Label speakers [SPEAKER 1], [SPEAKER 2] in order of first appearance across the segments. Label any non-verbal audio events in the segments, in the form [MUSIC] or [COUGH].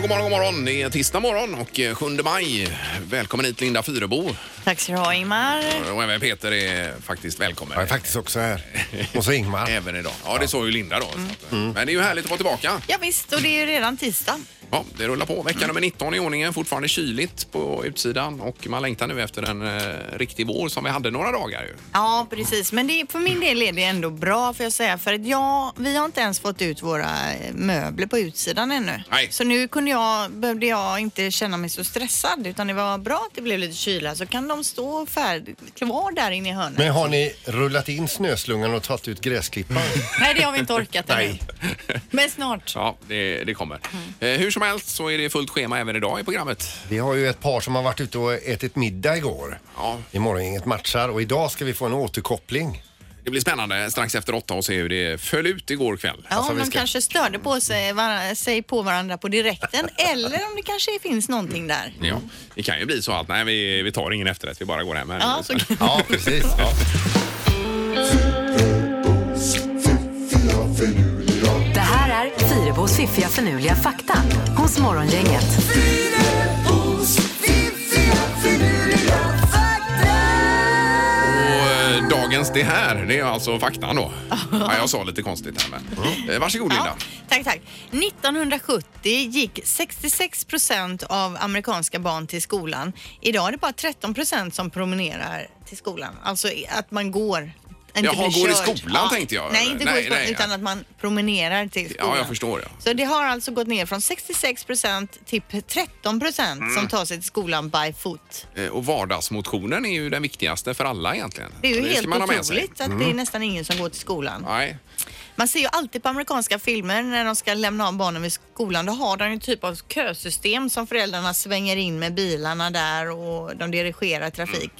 [SPEAKER 1] god morgon, god morgon. Det är tisdag morgon och eh, 7 maj. Välkommen hit Linda Fyrebo.
[SPEAKER 2] Tack ska du ha Ingmar.
[SPEAKER 1] Och även Peter är faktiskt välkommen.
[SPEAKER 3] Jag är faktiskt också här. Och så Ingmar.
[SPEAKER 1] Även idag. Ja, det såg ju Linda då.
[SPEAKER 2] Mm.
[SPEAKER 1] Så att, eh, Men det är ju härligt att vara tillbaka.
[SPEAKER 2] Ja, visst, och det är ju redan tisdag.
[SPEAKER 1] Ja, det rullar på. Vecka nummer 19 i ordningen. Fortfarande kyligt på utsidan och man längtar nu efter en eh, riktig vår som vi hade några dagar ju.
[SPEAKER 2] Ja, precis. Men det, är- för min del är det ändå bra får jag säga. För att jag, vi har inte ens fått ut våra eh, möbler på utsidan ännu.
[SPEAKER 1] Nej.
[SPEAKER 2] Så nu kunde jag, behövde jag inte känna mig så stressad utan det var bra att det blev lite kyla så kan de stå färd, kvar där inne i hörnet.
[SPEAKER 3] Men har ni rullat in snöslungan och tagit ut gräsklippan?
[SPEAKER 1] Mm.
[SPEAKER 2] Nej, det har vi inte orkat ännu. Men snart.
[SPEAKER 1] Ja, det, det kommer.
[SPEAKER 2] Mm.
[SPEAKER 1] Eh, Hur som helst så är det fullt schema även idag i programmet.
[SPEAKER 3] Vi har ju ett par som har varit ute och ätit middag igår.
[SPEAKER 1] Ja.
[SPEAKER 3] Imorgon inget matchar och idag ska vi få en återkoppling.
[SPEAKER 1] Det blir spännande strax efter åtta och se hur det föll ut igår kväll.
[SPEAKER 2] Ja,
[SPEAKER 3] Alltså,
[SPEAKER 2] om
[SPEAKER 3] vi
[SPEAKER 2] de
[SPEAKER 3] ska-
[SPEAKER 2] kanske störde på sig, var- sig på varandra på direkten eller om det kanske finns någonting där.
[SPEAKER 1] Ja, det kan ju bli så att nej, vi, vi tar ingen efterrätt, vi bara går hem. här.
[SPEAKER 2] Ja, så kan
[SPEAKER 3] Ja, [LAUGHS] precis. Ja.
[SPEAKER 4] Det här är Fyrabos fiffiga förnuliga fakta hos Morgongänget.
[SPEAKER 1] Och eh, dagens det här, det är alltså faktan då. Ja, jag sa lite konstigt här men.
[SPEAKER 2] Mm.
[SPEAKER 1] Eh, Varsågod Linda.
[SPEAKER 2] Tack, tack. 1970 gick 66 procent av amerikanska barn till skolan. Idag är det bara 13 procent som promenerar till skolan. Alltså i- att man går. Inte
[SPEAKER 1] Jaha,
[SPEAKER 2] blir
[SPEAKER 1] går i
[SPEAKER 2] körd.
[SPEAKER 1] skolan, tänkte jag.
[SPEAKER 2] Nej, inte går
[SPEAKER 1] Nej,
[SPEAKER 2] i skolan
[SPEAKER 1] nej,
[SPEAKER 2] utan
[SPEAKER 1] ja.
[SPEAKER 2] att man promenerar till skolan.
[SPEAKER 1] jag förstår, ja.
[SPEAKER 2] Så det har alltså gått ner från 66 procent till p- 13 procent
[SPEAKER 1] Mm.
[SPEAKER 2] som tar sig till skolan by foot.
[SPEAKER 1] Eh, Och vardagsmotionen är ju den viktigaste för alla egentligen.
[SPEAKER 2] Det är ju
[SPEAKER 1] Och ska
[SPEAKER 2] helt
[SPEAKER 1] man ha med sig. Mm.
[SPEAKER 2] otroligt att det är nästan ingen som går till skolan.
[SPEAKER 1] Nej,
[SPEAKER 2] Man ser ju alltid på amerikanska filmer när de ska lämna av barnen vid skolan. Då har de ju en typ av kösystem som föräldrarna svänger in med bilarna där och de dirigerar trafik.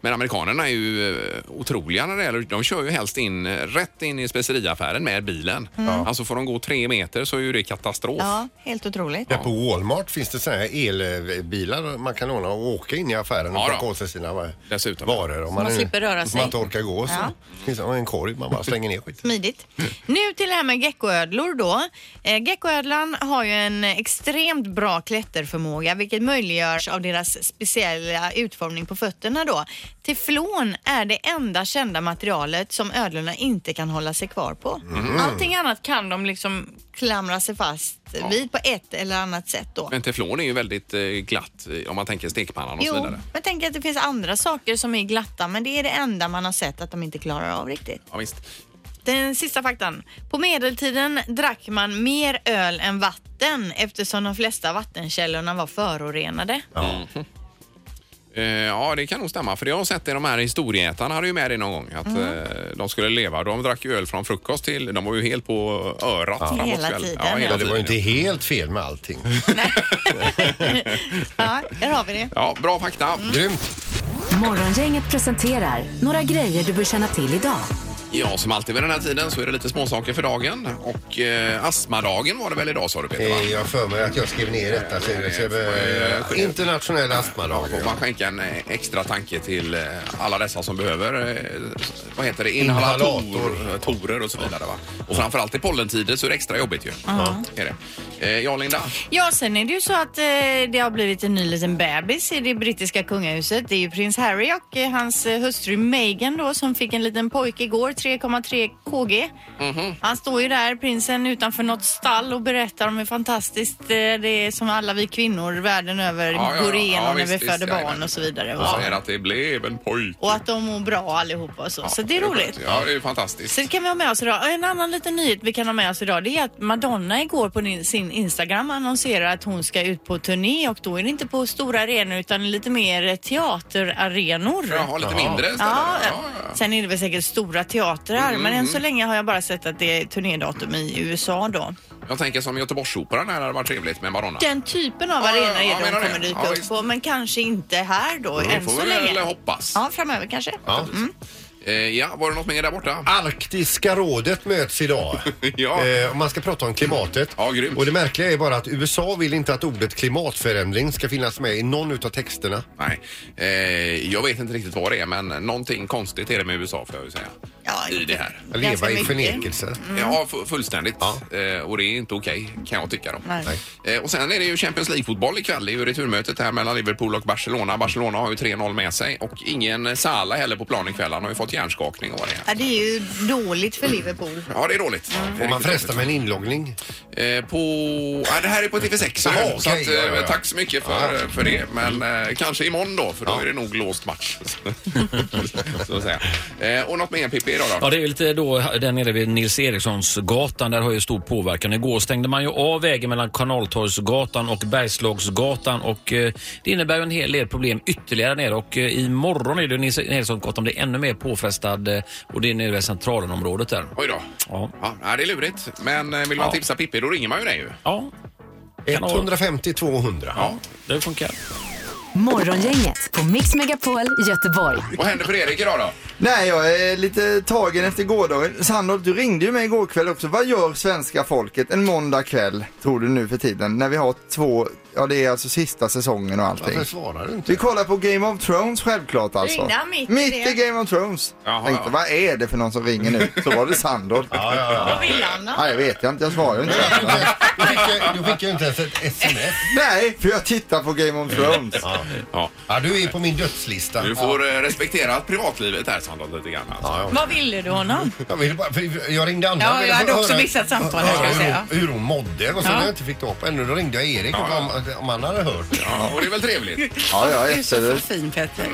[SPEAKER 1] men amerikanerna är ju eh, otroliga när det gäller, de kör ju helst in, eh, rätt in i speceriaffären med bilen. Alltså får de gå tre meter så är ju det katastrof.
[SPEAKER 2] Mm. Ja, helt otroligt.
[SPEAKER 3] Där på Walmart finns det såna här elbilar man kan låna och åka in i affären och
[SPEAKER 1] Ja, då.
[SPEAKER 3] plocka åt sig sina va-
[SPEAKER 1] Dessutom.
[SPEAKER 3] varor. Om man,
[SPEAKER 2] man
[SPEAKER 3] är-
[SPEAKER 2] slipper röra
[SPEAKER 3] om
[SPEAKER 2] sig.
[SPEAKER 3] man inte orkar gå så
[SPEAKER 2] Ja.
[SPEAKER 3] finns det en korg man bara slänger ner skit.
[SPEAKER 2] Smidigt. Nu till det här med geckoödlor då. Eh, Geckoödlan har ju en extremt bra klätterförmåga vilket möjliggörs av deras speciella utformning på fötterna då. Teflon är det enda kända materialet som ödlorna inte kan hålla sig kvar på.
[SPEAKER 1] Mm.
[SPEAKER 2] Allting annat kan de liksom klamra sig fast vid på ett eller annat sätt då.
[SPEAKER 1] Men teflon är ju väldigt eh, glatt eh, om man tänker stekpannan och så
[SPEAKER 2] Jo,
[SPEAKER 1] vidare.
[SPEAKER 2] jag tänker att det finns andra saker som är glatta men det är det enda man har sett att de inte klarar av riktigt.
[SPEAKER 1] Ja, visst.
[SPEAKER 2] Den sista faktan. På medeltiden drack man mer öl än vatten eftersom de flesta vattenkällorna var förorenade.
[SPEAKER 1] Eh, Ja, det kan nog stämma. För det har jag sett i de här historieätarna hade ju med det någon gång. Att
[SPEAKER 3] Mm.
[SPEAKER 1] eh, de skulle leva. De drack ju öl från frukost till... De var ju helt på örat framåt
[SPEAKER 2] Hela
[SPEAKER 1] kväll.
[SPEAKER 2] tiden,
[SPEAKER 1] Ja, hela
[SPEAKER 2] ja.
[SPEAKER 3] Ja, det var ju
[SPEAKER 1] tiden.
[SPEAKER 3] inte helt fel med
[SPEAKER 1] [LAUGHS]
[SPEAKER 3] allting.
[SPEAKER 2] Ja, där har vi det.
[SPEAKER 1] Ja, bra fakta.
[SPEAKER 3] Grymt!
[SPEAKER 4] Morgongänget presenterar några grejer du bör känna till idag.
[SPEAKER 1] Ja, som alltid vid den här tiden så är det lite småsaker för dagen. Och eh, astmadagen var det väl idag sa du Peter? Va?
[SPEAKER 3] Eh, Jag har för mig att jag skrev ner detta. Så det ska
[SPEAKER 1] Eh,
[SPEAKER 3] bli- internationell astmadagen.
[SPEAKER 1] Får man skänka en eh, extra tanke till eh, alla dessa som behöver eh, vad heter det?
[SPEAKER 3] Inhalator.
[SPEAKER 1] inhalatorer och så vidare. Va? Och framförallt i pollentider så är det extra jobbigt ju. Är det. Eh, Ja, Linda.
[SPEAKER 2] Ja, sen är det ju så att eh, det har blivit en ny liten bebis i det brittiska kungahuset. Det är ju prins Harry och eh, hans eh, hustru Meghan då som fick en liten pojke igår, 3,3 kg.
[SPEAKER 1] Mhm.
[SPEAKER 2] Han står ju där, prinsen, utanför något stall och berättar om hur fantastiskt eh, det är som alla vi kvinnor världen över
[SPEAKER 1] Ja, ja, ja.
[SPEAKER 2] går igenom
[SPEAKER 1] Ja,
[SPEAKER 2] när
[SPEAKER 1] visst,
[SPEAKER 2] vi
[SPEAKER 1] visst,
[SPEAKER 2] föder
[SPEAKER 1] ja,
[SPEAKER 2] barn
[SPEAKER 1] ja.
[SPEAKER 2] och så vidare.
[SPEAKER 1] Och
[SPEAKER 2] va?
[SPEAKER 1] säger att det blev en pojke.
[SPEAKER 2] Och att de mår bra allihopa och så. så det är roligt.
[SPEAKER 1] Ja, det är ju
[SPEAKER 2] Så
[SPEAKER 1] fantastiskt.
[SPEAKER 2] det kan vi ha med oss idag. Och En annan liten nyhet vi kan ha med oss idag det är att Madonna igår på din- sin Instagram annonserar att hon ska ut på turné och då är det inte på stora arenor utan lite mer teaterarenor.
[SPEAKER 1] Jaha, lite mindre istället.
[SPEAKER 2] Ja,
[SPEAKER 1] Ja, ja. Mm.
[SPEAKER 2] sen är det väl säkert stora teatrar men än så länge har jag bara sett att det är turnédatum i USA då.
[SPEAKER 1] Jag tänker som Göteborgsoperan här hade varit trevligt med Madonna.
[SPEAKER 2] Den typen av
[SPEAKER 1] Ja,
[SPEAKER 2] arenor
[SPEAKER 1] ja,
[SPEAKER 2] är
[SPEAKER 1] jag
[SPEAKER 2] det
[SPEAKER 1] menar
[SPEAKER 2] de
[SPEAKER 1] det.
[SPEAKER 2] kommer dyka
[SPEAKER 1] Ja,
[SPEAKER 2] upp
[SPEAKER 1] visst.
[SPEAKER 2] på men kanske inte här då
[SPEAKER 1] Det
[SPEAKER 2] än
[SPEAKER 1] får
[SPEAKER 2] så
[SPEAKER 1] vi
[SPEAKER 2] länge.
[SPEAKER 1] väl hoppas.
[SPEAKER 2] Ja, framöver kanske.
[SPEAKER 3] Ja.
[SPEAKER 1] Eh, ja, var det något mer där borta?
[SPEAKER 3] Arktiska rådet möts idag.
[SPEAKER 1] [LAUGHS] Ja.
[SPEAKER 3] eh, och man ska prata om klimatet.
[SPEAKER 1] Ja, grymt.
[SPEAKER 3] Och det märkliga är bara att USA vill inte att ordet klimatförändring ska finnas med i någon utav texterna.
[SPEAKER 1] Nej, eh, jag vet inte riktigt vad det är men någonting konstigt är det med USA får jag ju säga.
[SPEAKER 2] Ja,
[SPEAKER 1] i det här.
[SPEAKER 3] Leva i
[SPEAKER 2] mycket. Mm.
[SPEAKER 3] förnekelse.
[SPEAKER 1] Ja, fu- fullständigt. Eh, och det är inte okej, kan jag tycka. Då.
[SPEAKER 2] Nej.
[SPEAKER 1] Eh, och sen är det ju Champions League-fotboll ikväll. Det är ju returmötet här mellan Liverpool och Barcelona. Barcelona har ju 3-0 med sig och ingen Salah heller på plan ikväll. Han har ju fått hjärnskakning och vad det är.
[SPEAKER 2] Ja, det är ju dåligt för Liverpool.
[SPEAKER 1] Ja, det är dåligt. Det är
[SPEAKER 3] Om man
[SPEAKER 1] riktigt
[SPEAKER 3] frestar med en inloggning.
[SPEAKER 1] Eh, på... Ja, det här är på TV6.
[SPEAKER 3] Jaha,
[SPEAKER 1] så
[SPEAKER 3] okej,
[SPEAKER 1] att, eh,
[SPEAKER 3] ja, ja, ja.
[SPEAKER 1] Tack så mycket för, för det. Men eh, kanske imorgon då, för då
[SPEAKER 3] Ja.
[SPEAKER 1] är det nog
[SPEAKER 3] [LAUGHS]
[SPEAKER 1] låst match. så att säga. Eh, och något mer Pippi idag då?
[SPEAKER 5] Ja, det är ju lite då där nere vid Nils Erikssonsgatan. Där har ju stor påverkan. Igår stängde man ju av vägen mellan Kanaltorgsgatan och Bergslagsgatan och eh, det innebär ju en hel del problem ytterligare nere och eh, imorgon är det Nils Erikssonsgatan blir ännu mer påfrestad eh, och det är nere i centralområdet där.
[SPEAKER 1] Oj då.
[SPEAKER 5] Ja.
[SPEAKER 1] Ja, nej, det är lurigt. Men eh, vill man
[SPEAKER 5] Ja.
[SPEAKER 1] tipsa Pippi, då ringer man ju dig ju.
[SPEAKER 5] Ja, Kan ha-
[SPEAKER 3] 150-200.
[SPEAKER 1] Ja.
[SPEAKER 5] det funkar.
[SPEAKER 4] Morgongänget på Mix Megapol Göteborg.
[SPEAKER 1] Vad händer för Erik idag då?
[SPEAKER 6] Nej, jag är lite tagen efter gårdagen. Sandholt, du ringde ju mig igår kväll också. Vad gör svenska folket en måndag kväll, tror du nu för tiden, när vi har två, ja det är alltså sista säsongen och allting.
[SPEAKER 3] Varför svarar du
[SPEAKER 1] [LAUGHS]
[SPEAKER 3] inte?
[SPEAKER 6] Vi kollar på Game of Thrones självklart alltså.
[SPEAKER 2] Ringde han mitt i
[SPEAKER 6] mitt
[SPEAKER 2] det?
[SPEAKER 6] i Game of Thrones.
[SPEAKER 1] Jaha,
[SPEAKER 6] Tänkte,
[SPEAKER 1] ja.
[SPEAKER 6] vad är det för någon som ringer nu? Så var det Sandholt. ja,
[SPEAKER 2] Vad vill han ha?
[SPEAKER 6] Nej, jag vet jag inte. Jag svarar ju inte.
[SPEAKER 1] [LAUGHS]
[SPEAKER 3] Du skickar- Du skickar ju inte ens ett sms.
[SPEAKER 6] Nej, för jag tittar på Game of Thrones.
[SPEAKER 1] Ja.
[SPEAKER 3] Ja, du är på min dödslista.
[SPEAKER 1] Du får eh, respektera privatlivet här Sandholt lite grann. Alltså.
[SPEAKER 3] Ja, ja.
[SPEAKER 2] Vad ville du honom?
[SPEAKER 3] Jag, ville bara, för jag ringde andra.
[SPEAKER 2] Ja,
[SPEAKER 3] ville
[SPEAKER 2] jag hade
[SPEAKER 3] få
[SPEAKER 2] också
[SPEAKER 3] höra-
[SPEAKER 2] missat samtalet, ska jag
[SPEAKER 3] höra
[SPEAKER 2] säga.
[SPEAKER 3] Hur, hur hon mådde och så
[SPEAKER 2] Ja.
[SPEAKER 3] när jag inte fick tag på henne. Då ringde jag Erik
[SPEAKER 1] Ja, ja.
[SPEAKER 3] om, om han hade hört.
[SPEAKER 1] Ja, och det är väl trevligt.
[SPEAKER 6] Ja, jag
[SPEAKER 2] Du är så
[SPEAKER 6] efter det.
[SPEAKER 2] fin Petter.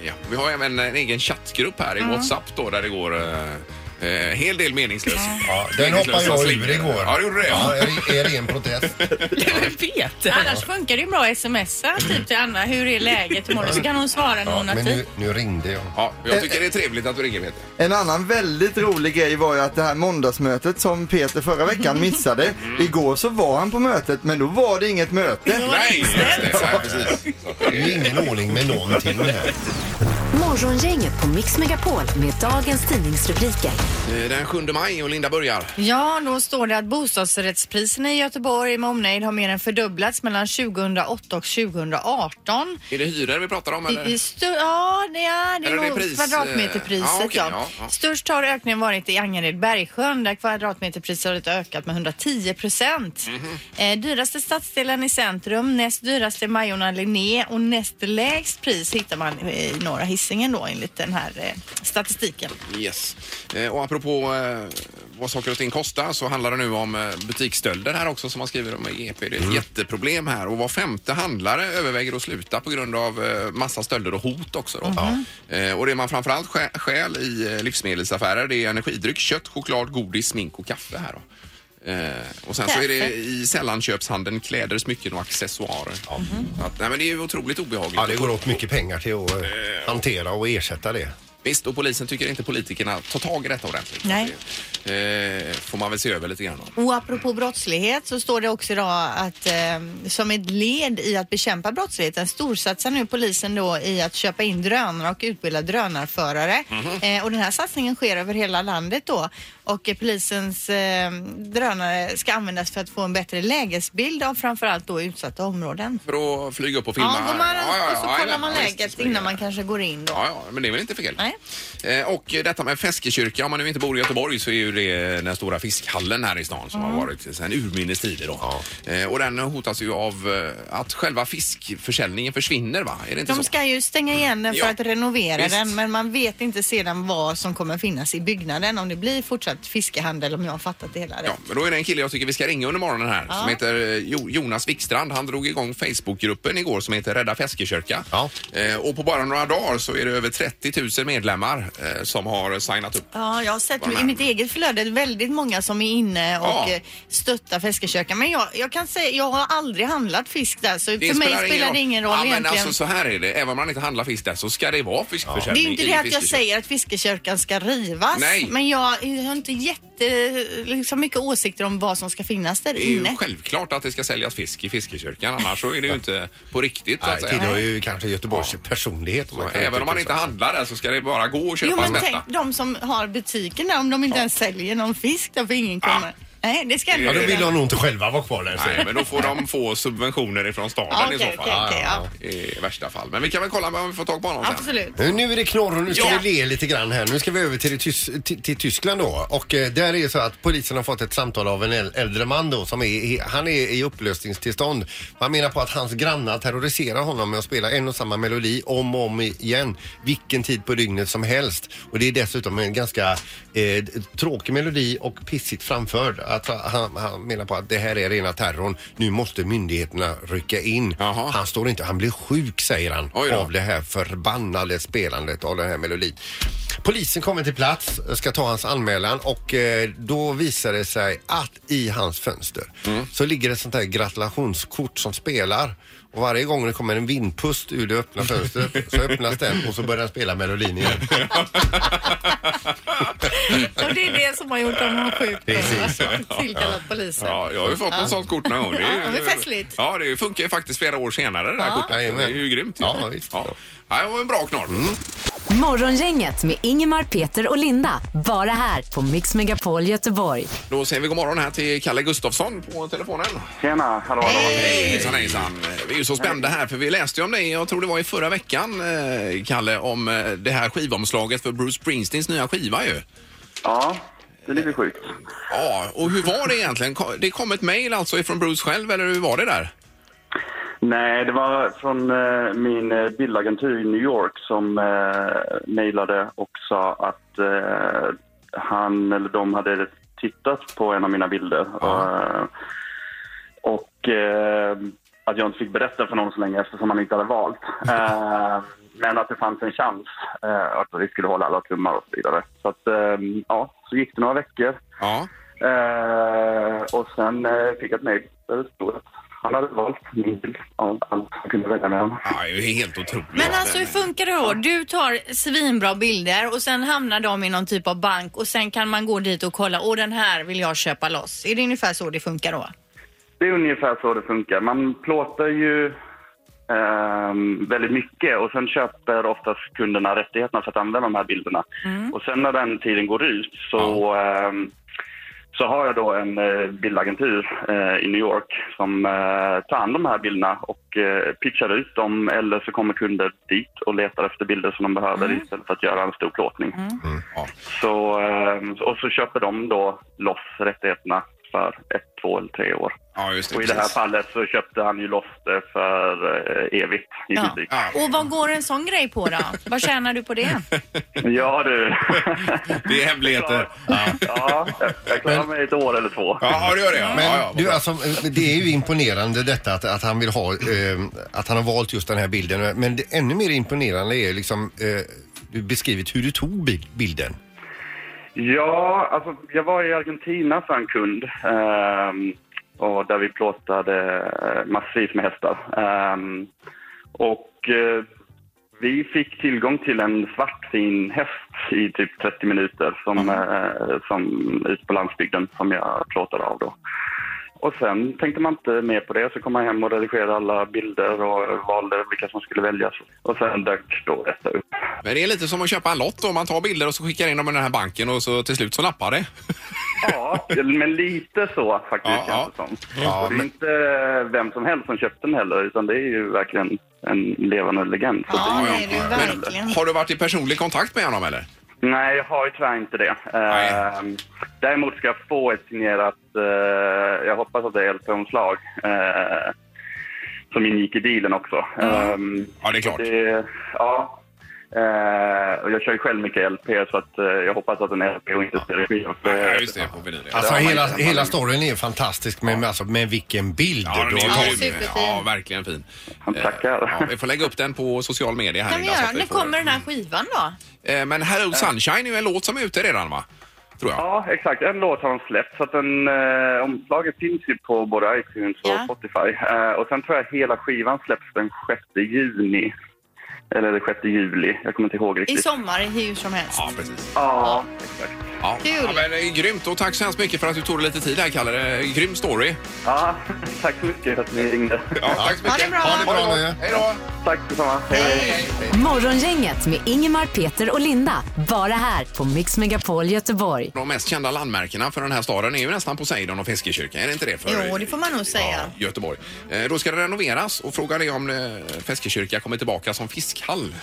[SPEAKER 1] Ja. Vi har även en egen chattgrupp här i WhatsApp då, där det går eh, eh, hel del meningslös.
[SPEAKER 3] Ja, den hoppade
[SPEAKER 1] meningslösa
[SPEAKER 3] jag
[SPEAKER 1] slingor.
[SPEAKER 3] ur igår.
[SPEAKER 1] Ja, det gjorde det.
[SPEAKER 3] Ja, är, är ren
[SPEAKER 1] [LAUGHS]
[SPEAKER 3] protest.
[SPEAKER 2] Annars funkar det ju bra att smsa typ till Anna. Hur är läget? Hur mår du? Så kan hon svara typ. när
[SPEAKER 3] Ja,
[SPEAKER 2] hon har
[SPEAKER 3] men
[SPEAKER 2] tid.
[SPEAKER 3] nu, nu ringde jag.
[SPEAKER 1] Ja, jag tycker det är trevligt att du ringer Peter.
[SPEAKER 6] En annan väldigt rolig grej var ju att det här måndagsmötet som Peter förra veckan missade. Igår så var han på mötet men då var det inget möte.
[SPEAKER 1] Nej, just det. Så här, precis.
[SPEAKER 3] Det är ju ingen ordning med någonting här.
[SPEAKER 4] Morgongänget på Mix Megapol med dagens tidningsrubriker.
[SPEAKER 1] Eh, Den 7 maj och Linda börjar.
[SPEAKER 2] Ja, då står det att bostadsrättspriserna i Göteborg med omnejd har mer än fördubblats mellan 2008 och 2018.
[SPEAKER 1] Är det hyror vi pratar om
[SPEAKER 2] I, i
[SPEAKER 1] eller?
[SPEAKER 2] stö- ja, det är, det
[SPEAKER 1] Eller
[SPEAKER 2] är
[SPEAKER 1] det är
[SPEAKER 2] nog
[SPEAKER 1] pris,
[SPEAKER 2] kvadratmeterpriset.
[SPEAKER 1] eh, ja, okej,
[SPEAKER 2] ja.
[SPEAKER 1] ja, ja.
[SPEAKER 2] Störst har ökningen varit i Angered-Bergsjön där kvadratmeterpriset har ökat med 110 procent.
[SPEAKER 1] Mhm.
[SPEAKER 2] eh, dyraste stadsdelen i centrum, näst dyraste Majorna Linné och näst lägst pris hittar man i norra Hisingen då enligt den här eh, statistiken.
[SPEAKER 1] Yes. Eh, Och apropå eh, vad saker och ting kostar så handlar det nu om eh, butiksstölder här också som man skriver om i GP. Det är ett
[SPEAKER 3] Mm.
[SPEAKER 1] jätteproblem här och var femte handlare överväger att sluta på grund av eh, massa stölder och hot också. Då.
[SPEAKER 3] Mm-hmm.
[SPEAKER 1] Eh, Och det man framförallt stjä- stjäl i eh, livsmedelsaffärer det är energidryck, kött, choklad, godis, smink och kaffe här då. Eh, och sen så är det
[SPEAKER 2] Kaffe.
[SPEAKER 1] i sällanköpshandeln kläder, smycken och accessoarer. Så Att, nej, men det är ju otroligt obehagligt.
[SPEAKER 3] Mm-hmm. Ja, det går åt mycket pengar till att eh, hantera och ersätta det.
[SPEAKER 1] Visst, och polisen tycker inte politikerna tar tag i detta ordentligt.
[SPEAKER 2] Nej.
[SPEAKER 1] Det, eh, får man väl se över lite grann. då.
[SPEAKER 2] Och apropå brottslighet så står det också idag att eh, som ett led i att bekämpa brottsligheten storsatsar nu polisen då i att köpa in drönare och utbilda drönarförare.
[SPEAKER 1] Mhm.
[SPEAKER 2] Eh, och den här satsningen sker över hela landet då och eh, polisens eh, drönare ska användas för att få en bättre lägesbild av framförallt då utsatta områden.
[SPEAKER 1] För att flyga upp och filma.
[SPEAKER 2] Ja, går man
[SPEAKER 1] här. Ja, ja,
[SPEAKER 2] och så
[SPEAKER 1] ja,
[SPEAKER 2] kollar
[SPEAKER 1] jajamän,
[SPEAKER 2] man
[SPEAKER 1] ja,
[SPEAKER 2] läget
[SPEAKER 1] visst,
[SPEAKER 2] innan
[SPEAKER 1] springer.
[SPEAKER 2] man kanske går in då.
[SPEAKER 1] Ja, ja, men det är väl inte fel?
[SPEAKER 2] Nej.
[SPEAKER 1] Eh, Och detta med Feskekyrka, om man nu inte bor i Göteborg så är ju det den stora fiskhallen här i stan som
[SPEAKER 2] Mm.
[SPEAKER 1] har varit sedan urminnes tider. Då. Eh, Och den hotas ju av eh, att själva fiskförsäljningen försvinner va? Är det inte
[SPEAKER 2] De
[SPEAKER 1] så?
[SPEAKER 2] ska ju stänga igen den för
[SPEAKER 1] Ja,
[SPEAKER 2] att renovera
[SPEAKER 1] visst.
[SPEAKER 2] den men man vet inte sedan vad som kommer finnas i byggnaden om det blir fortsatt fiskehandel om jag har fattat det hela
[SPEAKER 1] Ja,
[SPEAKER 2] rätt.
[SPEAKER 1] men då är det en kille jag tycker vi ska ringa under morgonen här som heter eh, Jo- Jonas Wikstrand. Han drog igång Facebookgruppen igår som heter Rädda Feskekyrka.
[SPEAKER 3] Ja.
[SPEAKER 1] Eh, och på bara några dagar så är det över 30 000 medlemmar eh, som har signat upp.
[SPEAKER 2] Ja, jag har sett
[SPEAKER 1] Var
[SPEAKER 2] i
[SPEAKER 1] med.
[SPEAKER 2] mitt eget flöde väldigt många som är inne och
[SPEAKER 1] Ja.
[SPEAKER 2] eh, stöttar Feskekörkan. Men jag, jag kan säga, jag har aldrig handlat fisk där så för mig spelar det ingen roll
[SPEAKER 1] ja, men
[SPEAKER 2] egentligen.
[SPEAKER 1] alltså, så här är det. Även om man inte handlar fisk där så ska det vara
[SPEAKER 2] det är
[SPEAKER 1] fiskförsäljning
[SPEAKER 2] ju inte
[SPEAKER 1] i
[SPEAKER 2] det att jag
[SPEAKER 1] Fiskekyrka.
[SPEAKER 2] säger att fiskekörkan ska rivas.
[SPEAKER 1] Nej.
[SPEAKER 2] Men jag har inte jätte, liksom mycket åsikter om vad som ska finnas där
[SPEAKER 1] Det är ju
[SPEAKER 2] inne.
[SPEAKER 1] självklart att det ska säljas fisk i fiskekyrkan annars så är det ju inte på riktigt. Så att
[SPEAKER 3] Nej,
[SPEAKER 1] säga.
[SPEAKER 3] tillhör ju kanske Göteborgs personlighet. om man kan
[SPEAKER 1] Även om man
[SPEAKER 3] uttrycka
[SPEAKER 1] inte
[SPEAKER 3] sig.
[SPEAKER 1] handlar där så ska det bara gå och köpa
[SPEAKER 2] Jo men
[SPEAKER 1] en
[SPEAKER 2] tänk
[SPEAKER 1] mätta.
[SPEAKER 2] de som har butiken där, om de inte ens säljer någon fisk där för ingen kommer. Nej, det ska
[SPEAKER 1] Ja,
[SPEAKER 3] Ja,
[SPEAKER 2] inte
[SPEAKER 3] då
[SPEAKER 1] det
[SPEAKER 3] vill de nog inte själva vara kvar där. säger
[SPEAKER 1] Nej,
[SPEAKER 3] jag.
[SPEAKER 1] men då får de få subventioner ifrån staden
[SPEAKER 2] Ja,
[SPEAKER 1] i
[SPEAKER 2] okej,
[SPEAKER 1] så fall.
[SPEAKER 2] okej, okej, ja.
[SPEAKER 1] I värsta fall. Men vi kan väl kolla om vi får tag på honom sen.
[SPEAKER 2] Absolut.
[SPEAKER 3] Eh, Nu är det knorr och nu ska
[SPEAKER 1] Ja.
[SPEAKER 3] vi le lite grann här. Nu ska vi över till, det tys- till, till Tyskland då. Och eh, där är det så att polisen har fått ett samtal av en äl- äldre man då som är, i- han är i upplösningstillstånd. Man menar på att hans grannar terroriserar honom med att spela en och samma melodi om och om igen. Vilken tid på dygnet som helst. Och det är dessutom en ganska eh, tråkig melodi och pissigt framförd. Att han, han menar på att det här är rena terrorn. Nu måste myndigheterna rycka in.
[SPEAKER 1] Jaha.
[SPEAKER 3] Han står inte, han blir sjuk säger han
[SPEAKER 1] Oj då.
[SPEAKER 3] av det här förbannade spelandet av den här melodin. Polisen kommer till plats, ska ta hans anmälan och eh, då visar det sig att i hans fönster
[SPEAKER 1] Mm.
[SPEAKER 3] så ligger ett sånt här gratulationskort som spelar. Och varje gång det kommer en vindpust ur det öppna fönstret så öppnas den och så börjar den spela melodin igen.
[SPEAKER 2] Och det är det som har gjort honom sjuk.
[SPEAKER 3] Precis,
[SPEAKER 2] alltså, Tillkallat polisen.
[SPEAKER 1] Ja, jag har ju fått något sånt kort någon gång.
[SPEAKER 2] Ja, det är festligt.
[SPEAKER 1] Ja, det funkar ju faktiskt flera år senare det där kortet.
[SPEAKER 3] Jajamän.
[SPEAKER 1] Det är ju grymt. ju.
[SPEAKER 3] Ja, visst. Mm.
[SPEAKER 1] Ja. Ja, det var en bra knorr.
[SPEAKER 4] Morgongänget med Ingemar, Peter och Linda. Bara här på Mix Megapol Göteborg.
[SPEAKER 1] Då säger vi god morgon här till Kalle Gustafsson på telefonen.
[SPEAKER 7] Tjena, hallå, hallå.
[SPEAKER 1] Hej! Hejsan, hejsan. Vi är ju så spända här för vi läste ju om dig, jag tror det var i förra veckan, eh, Kalle, om eh, det här skivomslaget för Bruce Springsteens nya skiva ju.
[SPEAKER 7] Ja, det är lite sjukt.
[SPEAKER 1] Ja, och hur var det egentligen? Ko- Det kom ett mejl alltså ifrån Bruce själv, eller hur var det där?
[SPEAKER 7] Nej, det var från eh, min eh, bildagentur i New York som eh, mejlade och sa att eh, han eller de hade tittat på en av mina bilder. Eh, och eh, att jag inte fick berätta för någon så länge eftersom han inte hade valt. [LAUGHS] Eh, men att det fanns en chans eh, att vi skulle hålla alla tummar och så vidare. Så att, eh, ja, så gick det några veckor.
[SPEAKER 1] Ja.
[SPEAKER 7] Eh, och sen eh, fick jag ett mejl där det stod att han hade valt min bild av allt han kunde välja mellan.
[SPEAKER 1] Ja, det är ju helt otroligt.
[SPEAKER 2] Men alltså hur funkar det då? Du tar svinbra bilder och sen hamnar de i någon typ av bank och sen kan man gå dit och kolla, åh den här vill jag köpa loss. Är det ungefär så det funkar då?
[SPEAKER 7] Det är ungefär så det funkar. Man plåtar ju ehm, väldigt mycket och sen köper oftast kunderna rättigheterna för att använda de här bilderna. Och sen när den tiden går ut så, ehm, så har jag då en eh, bildagentur eh, i New York som eh, tar hand om de här bilderna och eh, pitchar ut dem eller så kommer kunder dit och letar efter bilder som de behöver istället för att göra en stor plåtning.
[SPEAKER 1] Ja.
[SPEAKER 7] Så, ehm, och så köper de då loss rättigheterna för ett, två eller tre år.
[SPEAKER 1] Ja, just det.
[SPEAKER 7] Och i det här
[SPEAKER 1] precis.
[SPEAKER 7] fallet så köpte han ju loss det för eh, evigt i
[SPEAKER 2] Ja.
[SPEAKER 7] butik.
[SPEAKER 1] Ja.
[SPEAKER 2] Och vad går en sån grej på då? Vad tjänar du på det?
[SPEAKER 7] Ja du.
[SPEAKER 1] Det är hemligheter.
[SPEAKER 7] ja, jag- jag klarar mig ett år eller två.
[SPEAKER 1] Ja, det gör det. Ja,
[SPEAKER 3] Men
[SPEAKER 1] ja, ja, vad
[SPEAKER 3] du,
[SPEAKER 1] bra.
[SPEAKER 3] alltså, det är ju imponerande detta att, att han vill ha, eh, att han har valt just den här bilden. Men det ännu mer imponerande är liksom, eh, du beskrivit hur du tog bi- bilden.
[SPEAKER 7] Ja, alltså jag var i Argentina för en kund. ehm, och där vi plåtade eh, massvis med hästar. Ehm, och eh, vi fick tillgång till en svartfin häst i typ 30 minuter som, eh, som ute på landsbygden som jag plåtade av då. Och sen tänkte man inte mer på det, så kom man hem och redigerade alla bilder och valde vilka som skulle väljas. Och sen dök då detta upp.
[SPEAKER 1] Men det är lite som att köpa en lott då. Man tar bilder och så skickar in dem i den här banken och så till slut så nappar det.
[SPEAKER 7] Ja, men lite så faktiskt
[SPEAKER 1] Ja,
[SPEAKER 7] känns det
[SPEAKER 1] ja.
[SPEAKER 7] som.
[SPEAKER 3] Ja,
[SPEAKER 7] och det är
[SPEAKER 3] men-
[SPEAKER 7] inte vem som helst som köpte den heller, utan det är ju verkligen en levande legend. Så
[SPEAKER 2] Ja,
[SPEAKER 7] det är
[SPEAKER 2] det
[SPEAKER 7] ju-
[SPEAKER 2] är det ju verkligen.
[SPEAKER 1] Har du varit i personlig kontakt med honom eller?
[SPEAKER 7] Nej, jag har ju tyvärr inte det.
[SPEAKER 1] Nej.
[SPEAKER 7] Ehm, däremot ska jag få ett signerat, eh, jag hoppas att det är LP-omslag, eh, som ingick i dealen också. Ehm,
[SPEAKER 1] Ja, det är klart.
[SPEAKER 7] det, ja. Eh, och jag kör ju själv mycket LP, så att, eh, jag hoppas att den är LP och inte stereo.
[SPEAKER 1] Ja, just det. På vinyl. ja.
[SPEAKER 3] Alltså
[SPEAKER 7] Ja, man-
[SPEAKER 3] hela, hela storyn är fantastisk men, alltså, men vilken bild
[SPEAKER 1] Ja,
[SPEAKER 3] du
[SPEAKER 1] den
[SPEAKER 3] har
[SPEAKER 1] är
[SPEAKER 3] tagit.
[SPEAKER 1] grym.
[SPEAKER 2] superfin.
[SPEAKER 1] Ja, verkligen fin.
[SPEAKER 7] Han tackar.
[SPEAKER 1] Eh, Ja, vi får lägga upp den på social media här.
[SPEAKER 2] Kan vi
[SPEAKER 1] Linda, så
[SPEAKER 2] göra?
[SPEAKER 1] att vi
[SPEAKER 2] När
[SPEAKER 1] får-
[SPEAKER 2] kommer den här skivan då?
[SPEAKER 1] Eh, Men Hello Sunshine är ju en låt som är ute redan va? Tror jag.
[SPEAKER 7] Ja, exakt. En låt har de släppt, så att den, eh, omslaget finns ju på både iTunes och
[SPEAKER 2] Ja.
[SPEAKER 7] Spotify. Eh, och sen tror jag hela skivan släpps den 6 juni.
[SPEAKER 8] Eller 6 juli, jag kommer inte ihåg
[SPEAKER 2] I
[SPEAKER 8] riktigt.
[SPEAKER 2] sommar hur som helst.
[SPEAKER 1] Ja, precis.
[SPEAKER 8] Ja, exakt.
[SPEAKER 1] Ja.
[SPEAKER 2] Kul.
[SPEAKER 1] Ja, men, eh, grymt och tack så hemskt mycket för att du tog dig lite tid här Kalle. Det är en Grym story.
[SPEAKER 8] Ja, [LAUGHS] tack så mycket för att ni ringde.
[SPEAKER 1] Ja, tack så
[SPEAKER 2] Ha det
[SPEAKER 1] mycket.
[SPEAKER 2] bra.
[SPEAKER 3] Ha det bra nu.
[SPEAKER 1] Hej då.
[SPEAKER 8] Tack detsamma. Hej, hej.
[SPEAKER 4] Morgongänget med Ingemar, Peter och Linda. Bara här på Mix Megapol Göteborg.
[SPEAKER 1] De mest kända landmärkena för den här staden är ju nästan Poseidon och Fiskekyrkan. Är det inte det? För,
[SPEAKER 2] Jo, det får man nog säga.
[SPEAKER 1] Ja, Göteborg. Eh, Då ska det renoveras och frågan är om eh, Fiskekyrka kommer tillbaka som fiskhall.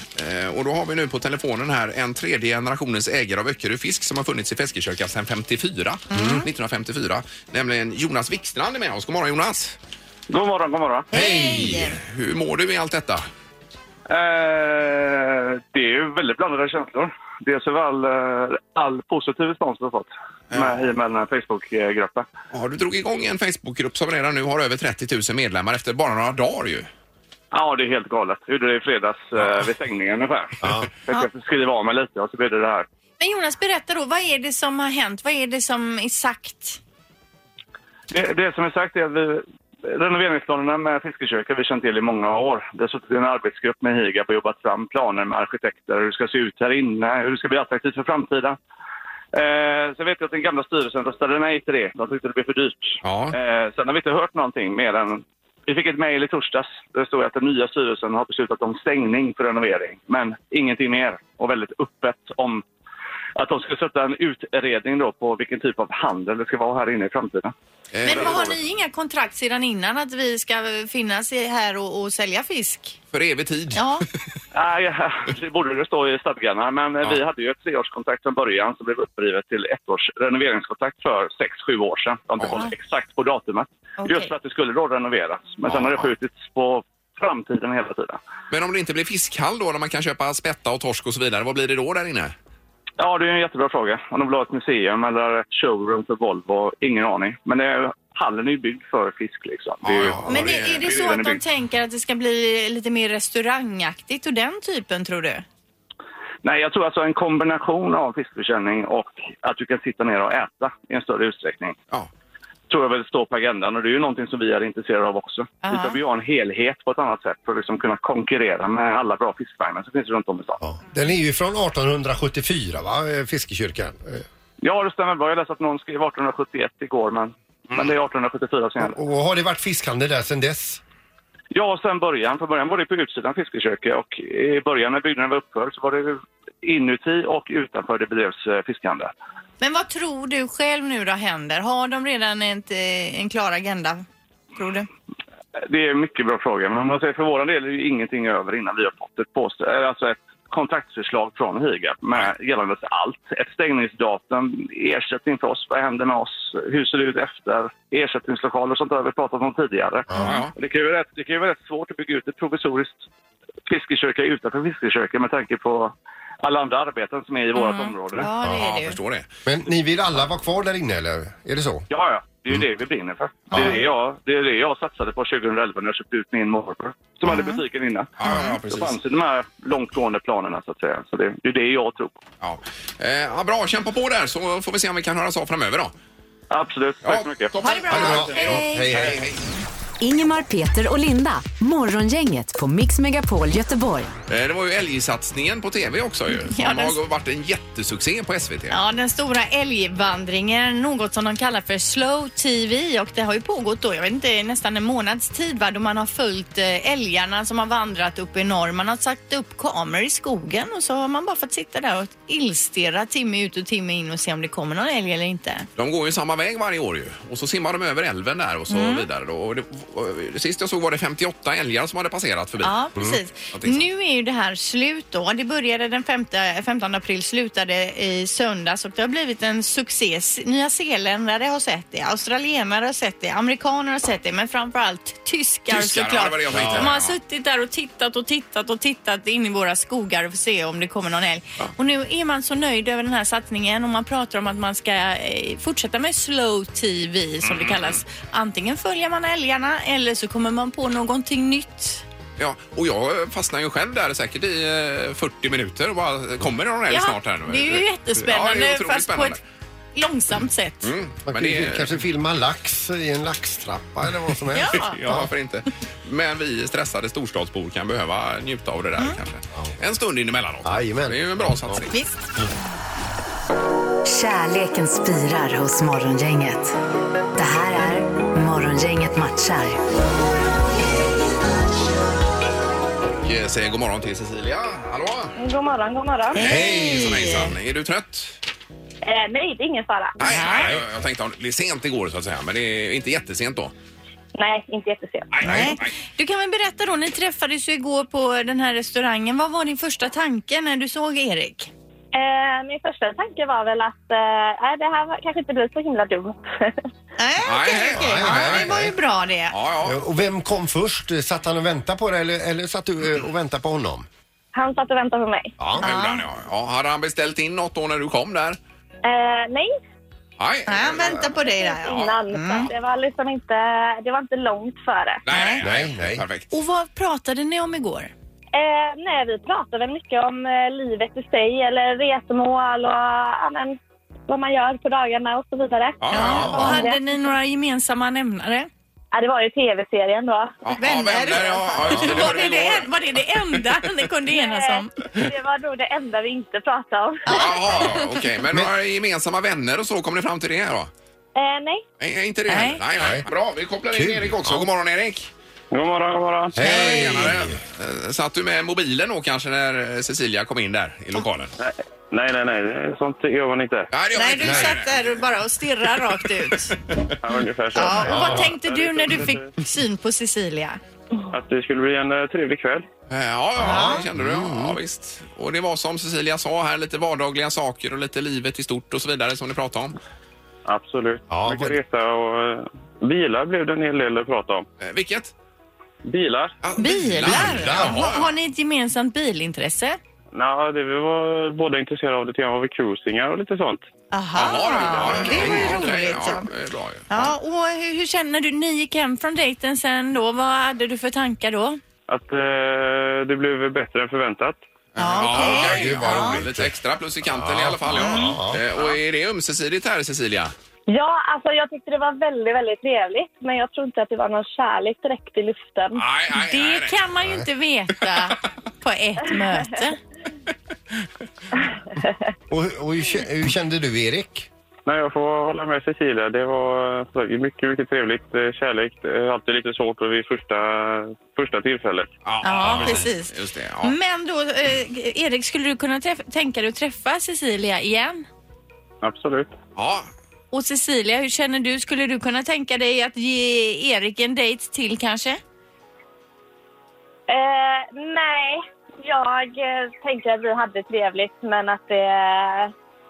[SPEAKER 1] Eh, Och då har vi nu på telefonen här en tredje generationens ägare av Öckerö Fisk som har funnits i Fiskekyrka sedan 54,
[SPEAKER 2] Mm.
[SPEAKER 1] 1954. Nämligen Jonas Wikstrand är med oss. God morgon Jonas!
[SPEAKER 8] God morgon, god morgon.
[SPEAKER 1] Hej! Hur mår du i allt detta?
[SPEAKER 8] Eh, det är ju väldigt blandade känslor. Dels är väl eh, all positiv respons vi har fått med, i och med den här Facebookgruppen.
[SPEAKER 1] Ja, du drog igång en Facebookgrupp som redan nu har över 30 000 medlemmar efter bara några dagar ju.
[SPEAKER 8] Ja, det är helt galet. Jag gjorde det i fredags eh, vid stängningen ungefär. Ja. Jag tänkte skriva av mig lite och så blev det det här.
[SPEAKER 2] Men Jonas, berätta då, vad är det som har hänt? Vad är det som är sagt?
[SPEAKER 8] Det, det som är sagt är att vi, renoveringsplanerna med Fiskekyrkan har vi känt till i många år. Det har suttit en arbetsgrupp med Higab och jobbat fram planer med arkitekter, hur det ska se ut här inne, hur det ska bli attraktivt för framtiden. Eh, sen vet jag att den gamla styrelsen röstade nej till det. De tyckte det blev för dyrt.
[SPEAKER 1] Ja.
[SPEAKER 8] Eh, sen har vi inte hört någonting mer än... Vi fick ett mejl i torsdags. Där det stod att den nya styrelsen har beslutat om stängning för renovering. Men ingenting mer. Och väldigt öppet om att de ska sätta en utredning då på vilken typ av handel det ska vara här inne i framtiden.
[SPEAKER 1] Eh,
[SPEAKER 2] Men har ni inga kontrakt sedan innan att vi ska finnas i- här och, och sälja fisk?
[SPEAKER 1] För evig tid.
[SPEAKER 2] Ja,
[SPEAKER 8] Nej, det borde det stå i stadgarna. Men eh, vi hade ju ett treårskontrakt från början som blev upprivet till ett års renoveringskontrakt för sex, sju år sedan. De inte
[SPEAKER 1] Ja.
[SPEAKER 8] koll exakt på datumet.
[SPEAKER 2] Okej.
[SPEAKER 8] Just för att det skulle då renoveras. Men sen
[SPEAKER 1] Ja.
[SPEAKER 8] har det skjutits på framtiden hela tiden.
[SPEAKER 1] Men om det inte blir fiskhall då, när man kan köpa spätta och torsk och så vidare, vad blir det då där inne?
[SPEAKER 8] Ja, det är en jättebra fråga. Om de vill ha ett museum eller ett showroom för Volvo, ingen aning. Men det är, hallen är ju byggd för fisk liksom. Det är ju,
[SPEAKER 1] Ja,
[SPEAKER 2] men
[SPEAKER 1] det-
[SPEAKER 2] är, är
[SPEAKER 1] det
[SPEAKER 2] det
[SPEAKER 1] är
[SPEAKER 2] så
[SPEAKER 8] den
[SPEAKER 2] att
[SPEAKER 8] är
[SPEAKER 2] de
[SPEAKER 8] byggd.
[SPEAKER 2] tänker att det ska bli lite mer restaurangaktigt och den typen tror du?
[SPEAKER 8] Nej, jag tror alltså en kombination av fiskförsäljning och att du kan sitta ner och äta i en större utsträckning.
[SPEAKER 1] Ja.
[SPEAKER 8] tror jag väl står på agendan och det är ju någonting som vi är intresserade av också.
[SPEAKER 2] Aha.
[SPEAKER 8] Vi behöver ju ha en helhet på ett annat sätt för att liksom kunna konkurrera med alla bra fiskfarmar som finns runt om i stan.
[SPEAKER 3] Ja. Den är ju från 1874 va, eh, Fiskekyrkan? Eh,
[SPEAKER 8] Ja, det stämmer bra. Jag läste att någon skrev 1871 igår, men, men det är 1874 som gäller.
[SPEAKER 3] Och har det varit fiskhandel där sedan dess?
[SPEAKER 8] Ja, sen början. Från början var det på utsidan fiskeköket och i början när byggnaden var uppförd så var det ju inuti och utanför det bedrevs eh, fiskhandel.
[SPEAKER 2] Men vad tror du själv nu då händer? Har de redan ett, eh, en klar agenda? Tror du?
[SPEAKER 8] Det är en mycket bra fråga, men om man säger för vår del är det ju ingenting över innan vi har fått ett, påstå- eller alltså ett kontraktsförslag från Higab med gällande till allt. Ett stängningsdatum, ersättning för oss, vad händer med oss, hur ser det ut efter, ersättningslokaler och sånt där har vi pratat om tidigare.
[SPEAKER 1] Ja,
[SPEAKER 8] Och Det kan ju vara rätt, det kan ju vara rätt svårt att bygga ut ett provisoriskt fiskekyrka utanför fiskekyrka med tanke på alla andra arbeten som är i vårt område. Ja,
[SPEAKER 2] Ja, det är
[SPEAKER 1] ja,
[SPEAKER 2] det
[SPEAKER 1] jag
[SPEAKER 2] ju.
[SPEAKER 1] förstår det.
[SPEAKER 3] Men ni vill alla vara kvar där inne eller? Är det så?
[SPEAKER 8] ja. Det är ju det vi brinner för. Det är det, jag, det är det jag satsade på 2011 när jag köpte ut min morbror som hade butiken innan.
[SPEAKER 1] Ja,
[SPEAKER 2] Mm.
[SPEAKER 1] ja,
[SPEAKER 8] Det
[SPEAKER 1] precis.
[SPEAKER 8] fanns ju de här långtgående planerna så att säga. Så det, det är det jag tror på.
[SPEAKER 1] Ja. Eh, ja, bra, kämpa på där så får vi se om vi kan höras av framöver då.
[SPEAKER 8] Absolut, tack så mycket.
[SPEAKER 1] toppen.
[SPEAKER 2] Ha det bra! Hej!
[SPEAKER 1] Hej, hej.
[SPEAKER 4] Ingemar, Peter och Linda. Morgongänget på Mix Megapol Göteborg.
[SPEAKER 1] Eh, Det var ju älgsatsningen på tv också ju. Som
[SPEAKER 2] [LAUGHS] Ja, den-
[SPEAKER 1] har varit en jättesuccé på SVT.
[SPEAKER 2] Ja, den stora älgvandringen, något som de kallar för slow TV och det har ju pågått då, jag vet inte, nästan en månads tid va, då man har följt eh, älgarna som har vandrat upp i norr. Man har satt upp kameror i skogen och så har man bara fått sitta där och illstirra timme ut och timme in och se om det kommer någon älg eller inte.
[SPEAKER 1] De går ju samma väg varje år ju. Och så simmar de över älven där och så
[SPEAKER 2] Mm.
[SPEAKER 1] vidare. Då. Och det, och det sista jag såg var det 58 älgar som hade passerat förbi.
[SPEAKER 2] Ja, precis.
[SPEAKER 1] Mm. Någonting sånt.
[SPEAKER 2] Nu är ju det här slut då. Det började den 5, 15 april, slutade i söndags och det har blivit en succé. S- Nya zeeländare har sett det, australienare har sett det, amerikaner har sett det, men framförallt tyskar,
[SPEAKER 1] Tyskar, ja, det
[SPEAKER 2] såklart.
[SPEAKER 1] var det jag
[SPEAKER 2] De
[SPEAKER 1] tänkte.
[SPEAKER 2] har
[SPEAKER 1] Ja.
[SPEAKER 2] suttit där och tittat och tittat och tittat in i våra skogar och se om det kommer någon älg. Och nu är man så nöjd över den här satsningen och man pratar om att man ska eh, fortsätta med slow TV som
[SPEAKER 1] Mm.
[SPEAKER 2] det kallas. Antingen följer man älgarna eller så kommer man på någonting nytt.
[SPEAKER 1] Ja, och jag fastnar ju själv där säkert i eh, 40 minuter och bara, kommer det någon älg snart här nu?
[SPEAKER 2] Det är ju jättespännande
[SPEAKER 1] Ja, det är otroligt
[SPEAKER 2] fast
[SPEAKER 1] spännande. Mm.
[SPEAKER 2] på ett långsamt sätt.
[SPEAKER 9] Mm,
[SPEAKER 3] Man
[SPEAKER 1] Men
[SPEAKER 3] kan
[SPEAKER 1] det
[SPEAKER 3] ju
[SPEAKER 1] är-
[SPEAKER 3] kanske filma lax i en laxtrappa eller vad som helst.
[SPEAKER 2] Ja.
[SPEAKER 1] [LAUGHS] Ja, varför inte? Men vi stressade storstadsbor kan behöva njuta av det där
[SPEAKER 2] Mm.
[SPEAKER 1] kanske. En stund in emellanåt.
[SPEAKER 3] Jajamän.
[SPEAKER 1] Det är ju en bra satsning.
[SPEAKER 2] Visst.
[SPEAKER 4] Kärleken spirar hos Morgongänget. Det här är Morgongänget matchar.
[SPEAKER 1] Och eh, säger god morgon till Cecilia. Hallå!
[SPEAKER 9] God morgon, god morgon.
[SPEAKER 1] Eh. Hej! Hejsan, hejsan. Är du trött?
[SPEAKER 9] Eh, nej, det är ingen fara.
[SPEAKER 1] Nej, Jag, jag tänkte om det är sent igår så att säga, men det är inte jättesent då.
[SPEAKER 9] Nej, inte jättesent.
[SPEAKER 1] Nej,
[SPEAKER 2] Nej. Du kan väl berätta då, ni träffades ju igår på den här restaurangen. Vad var din första tanke när du såg Erik?
[SPEAKER 9] Eh, min första tanke var väl att eh, nej, det här var- kanske inte blir så himla dumt.
[SPEAKER 2] [LAUGHS] Nej, okej,
[SPEAKER 1] nej,
[SPEAKER 2] okej.
[SPEAKER 1] nej,
[SPEAKER 2] Ja,
[SPEAKER 1] nej,
[SPEAKER 2] Det var ju
[SPEAKER 1] nej.
[SPEAKER 2] bra det.
[SPEAKER 1] Ja, ja.
[SPEAKER 3] Eh, Och vem kom först? Satt han och väntade på dig eller, eller satt du eh, och väntade på honom?
[SPEAKER 9] Han satt och väntade på mig.
[SPEAKER 1] Ja, det gjorde han, ja. ja. Hade han beställt in något då när du kom där?
[SPEAKER 9] Eh, nej,
[SPEAKER 1] Nej.
[SPEAKER 2] Nej, han väntar på dig där. Ja.
[SPEAKER 9] innan. Så att det var liksom inte, det var inte långt före.
[SPEAKER 1] Nej, nej,
[SPEAKER 3] Nej,
[SPEAKER 1] nej.
[SPEAKER 3] nej.
[SPEAKER 1] Perfekt.
[SPEAKER 2] Och vad pratade ni om igår?
[SPEAKER 9] Eh, nej, vi pratade väl mycket om eh, livet i sig eller resmål och ja, men, vad man gör på dagarna och så vidare.
[SPEAKER 1] Ja, ja,
[SPEAKER 2] Och
[SPEAKER 1] ja.
[SPEAKER 2] hade ni några gemensamma nämnare?
[SPEAKER 9] Ja, det var ju tv-serien då.
[SPEAKER 1] Ja, ja,
[SPEAKER 2] Vänner.
[SPEAKER 1] vänner, ja, ja, ja.
[SPEAKER 2] Var [LAUGHS] det det,
[SPEAKER 1] igår.
[SPEAKER 2] en- var det, det enda ni kunde enas om?
[SPEAKER 9] Eh, Det var nog det enda vi inte pratade om.
[SPEAKER 1] Jaha, okej. Men några gemensamma vänner och så, kom ni fram till det då?
[SPEAKER 9] Eh, nej.
[SPEAKER 1] Nej, är inte det
[SPEAKER 2] Nej.
[SPEAKER 1] heller. nej. nej. Bra, vi kopplar in
[SPEAKER 3] Kul.
[SPEAKER 1] Erik också. God morgon Erik!
[SPEAKER 7] God morgon, god morgon.
[SPEAKER 3] Hej!
[SPEAKER 1] Tjenare. Eh, Satt du med mobilen då kanske när eh, Cecilia kom in där i lokalen? Nej,
[SPEAKER 7] Nej, nej, nej. Sånt gör man inte.
[SPEAKER 1] det gör
[SPEAKER 2] Nej,
[SPEAKER 1] inte.
[SPEAKER 2] du satt där och bara och stirrade rakt ut.
[SPEAKER 7] Ja, ungefär så.
[SPEAKER 2] Ja, och vad tänkte du när du fick syn på Cecilia?
[SPEAKER 7] Att det skulle bli en eh, trevlig kväll.
[SPEAKER 1] Eh, Ja, ja, det kände du. Ja, visst. Och det var som Cecilia sa här, lite vardagliga saker och lite livet i stort och så vidare som ni pratade om.
[SPEAKER 7] Absolut.
[SPEAKER 3] Ja,
[SPEAKER 7] Mycket
[SPEAKER 3] vad-
[SPEAKER 7] resa och eh, bilar blev det en hel del att prata om.
[SPEAKER 1] Eh, Vilket?
[SPEAKER 7] Bilar?
[SPEAKER 1] Ah,
[SPEAKER 2] Bilar?
[SPEAKER 1] Jaha.
[SPEAKER 2] Har ni ett gemensamt bilintresse?
[SPEAKER 7] Ja, det vi var båda intresserade av lite grann var vi cruisingar och lite sånt.
[SPEAKER 2] Aha, det var ju
[SPEAKER 1] Okej,
[SPEAKER 2] roligt.
[SPEAKER 1] Ah, Ja,
[SPEAKER 2] Ja.
[SPEAKER 1] det är bra ju.
[SPEAKER 2] Ja, och hur, hur känner du? Ni gick hem från dejten sen då. Vad hade du för tankar då?
[SPEAKER 7] Att eh, det blev bättre än förväntat.
[SPEAKER 2] Ja, Mm.
[SPEAKER 1] Ja,
[SPEAKER 2] okej.
[SPEAKER 1] okay.
[SPEAKER 3] Gud, vad roligt.
[SPEAKER 1] Lite extra plus i kanten i alla fall. Ja. Eh, Och är det ömsesidigt här, Cecilia?
[SPEAKER 9] Ja, alltså jag tyckte det var väldigt, väldigt trevligt. Men jag tror inte att det var någon kärlek direkt i luften.
[SPEAKER 1] Nej, nej, nej,
[SPEAKER 2] Det
[SPEAKER 1] nej.
[SPEAKER 2] kan man ju inte veta på
[SPEAKER 1] [LAUGHS]
[SPEAKER 2] ett möte.
[SPEAKER 3] Och, och hur, kä- hur kände du Erik?
[SPEAKER 7] Nej, jag får hålla med Cecilia. Det var eh, som sagt, mycket, mycket trevligt. eh, Kärlek. eh, Alltid lite svårt vid första, första tillfället.
[SPEAKER 1] Ja,
[SPEAKER 2] Ja, precis. Mm.
[SPEAKER 1] Just det, ja.
[SPEAKER 2] Men då, eh, Erik, skulle du kunna träff- tänka dig att träffa Cecilia igen?
[SPEAKER 7] Absolut.
[SPEAKER 1] ja.
[SPEAKER 2] Och Cecilia, hur känner du? Skulle du kunna tänka dig att ge Erik en dejt till kanske?
[SPEAKER 9] Eh, nej, jag eh, tänkte att vi hade trevligt men att det...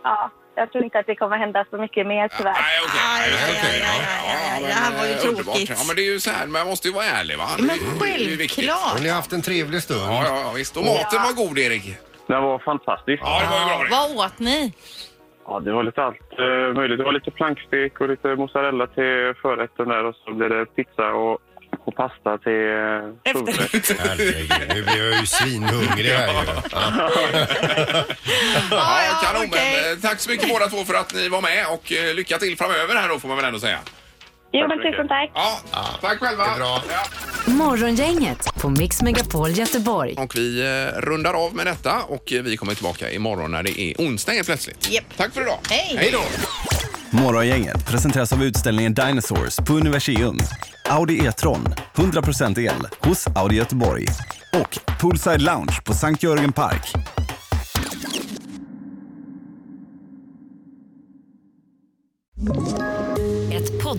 [SPEAKER 9] ja, jag tror inte att det kommer hända så mycket mer tyvärr.
[SPEAKER 1] Nej, okej.
[SPEAKER 2] Aj,
[SPEAKER 1] just
[SPEAKER 2] aj, aj, aj, aj, aj.
[SPEAKER 1] men,
[SPEAKER 2] Det här var ju
[SPEAKER 1] eh,
[SPEAKER 2] tråkigt.
[SPEAKER 1] underbart. Ja, men det är ju så här, man måste ju vara ärlig va? Det är
[SPEAKER 2] Men
[SPEAKER 1] ju- det är ju viktigt.
[SPEAKER 2] självklart!
[SPEAKER 3] Har ni haft en trevlig stund?
[SPEAKER 1] Ja, ja, ja, visst. Och maten var god, Erik.
[SPEAKER 7] Den var fantastisk.
[SPEAKER 1] Ja, det var ju bra det.
[SPEAKER 2] Vad åt ni?
[SPEAKER 7] Ja, det var lite allt eh, möjligt. Det var lite plankstek och lite mozzarella till förrätten där och så blev det pizza och, och pasta till eh, huvudrätt.
[SPEAKER 3] Herregud, nu blir jag ju svinhungrig här ju.
[SPEAKER 1] Ja,
[SPEAKER 2] ja,
[SPEAKER 1] kanon.
[SPEAKER 2] okej.
[SPEAKER 1] Men, eh, tack så mycket båda två för att ni var med och eh, lycka till framöver här då får man väl ändå säga.
[SPEAKER 9] Jo, men tusen tack.
[SPEAKER 1] Ja, tack själva.
[SPEAKER 3] det är bra.
[SPEAKER 1] Ja.
[SPEAKER 4] Morgongänget på Mix Megapol Göteborg.
[SPEAKER 1] Och vi eh, rundar av med detta och eh, vi kommer tillbaka imorgon när det är onsdag helt plötsligt.
[SPEAKER 2] Japp.
[SPEAKER 1] Tack för idag.
[SPEAKER 2] Hej.
[SPEAKER 1] Hej då.
[SPEAKER 10] Morgongänget presenteras av utställningen Dinosaurs på Universium. Audi E-tron, 100% el, hos Audi Göteborg. Och Poolside Lounge på Sankt Jörgen Park.
[SPEAKER 11] Ett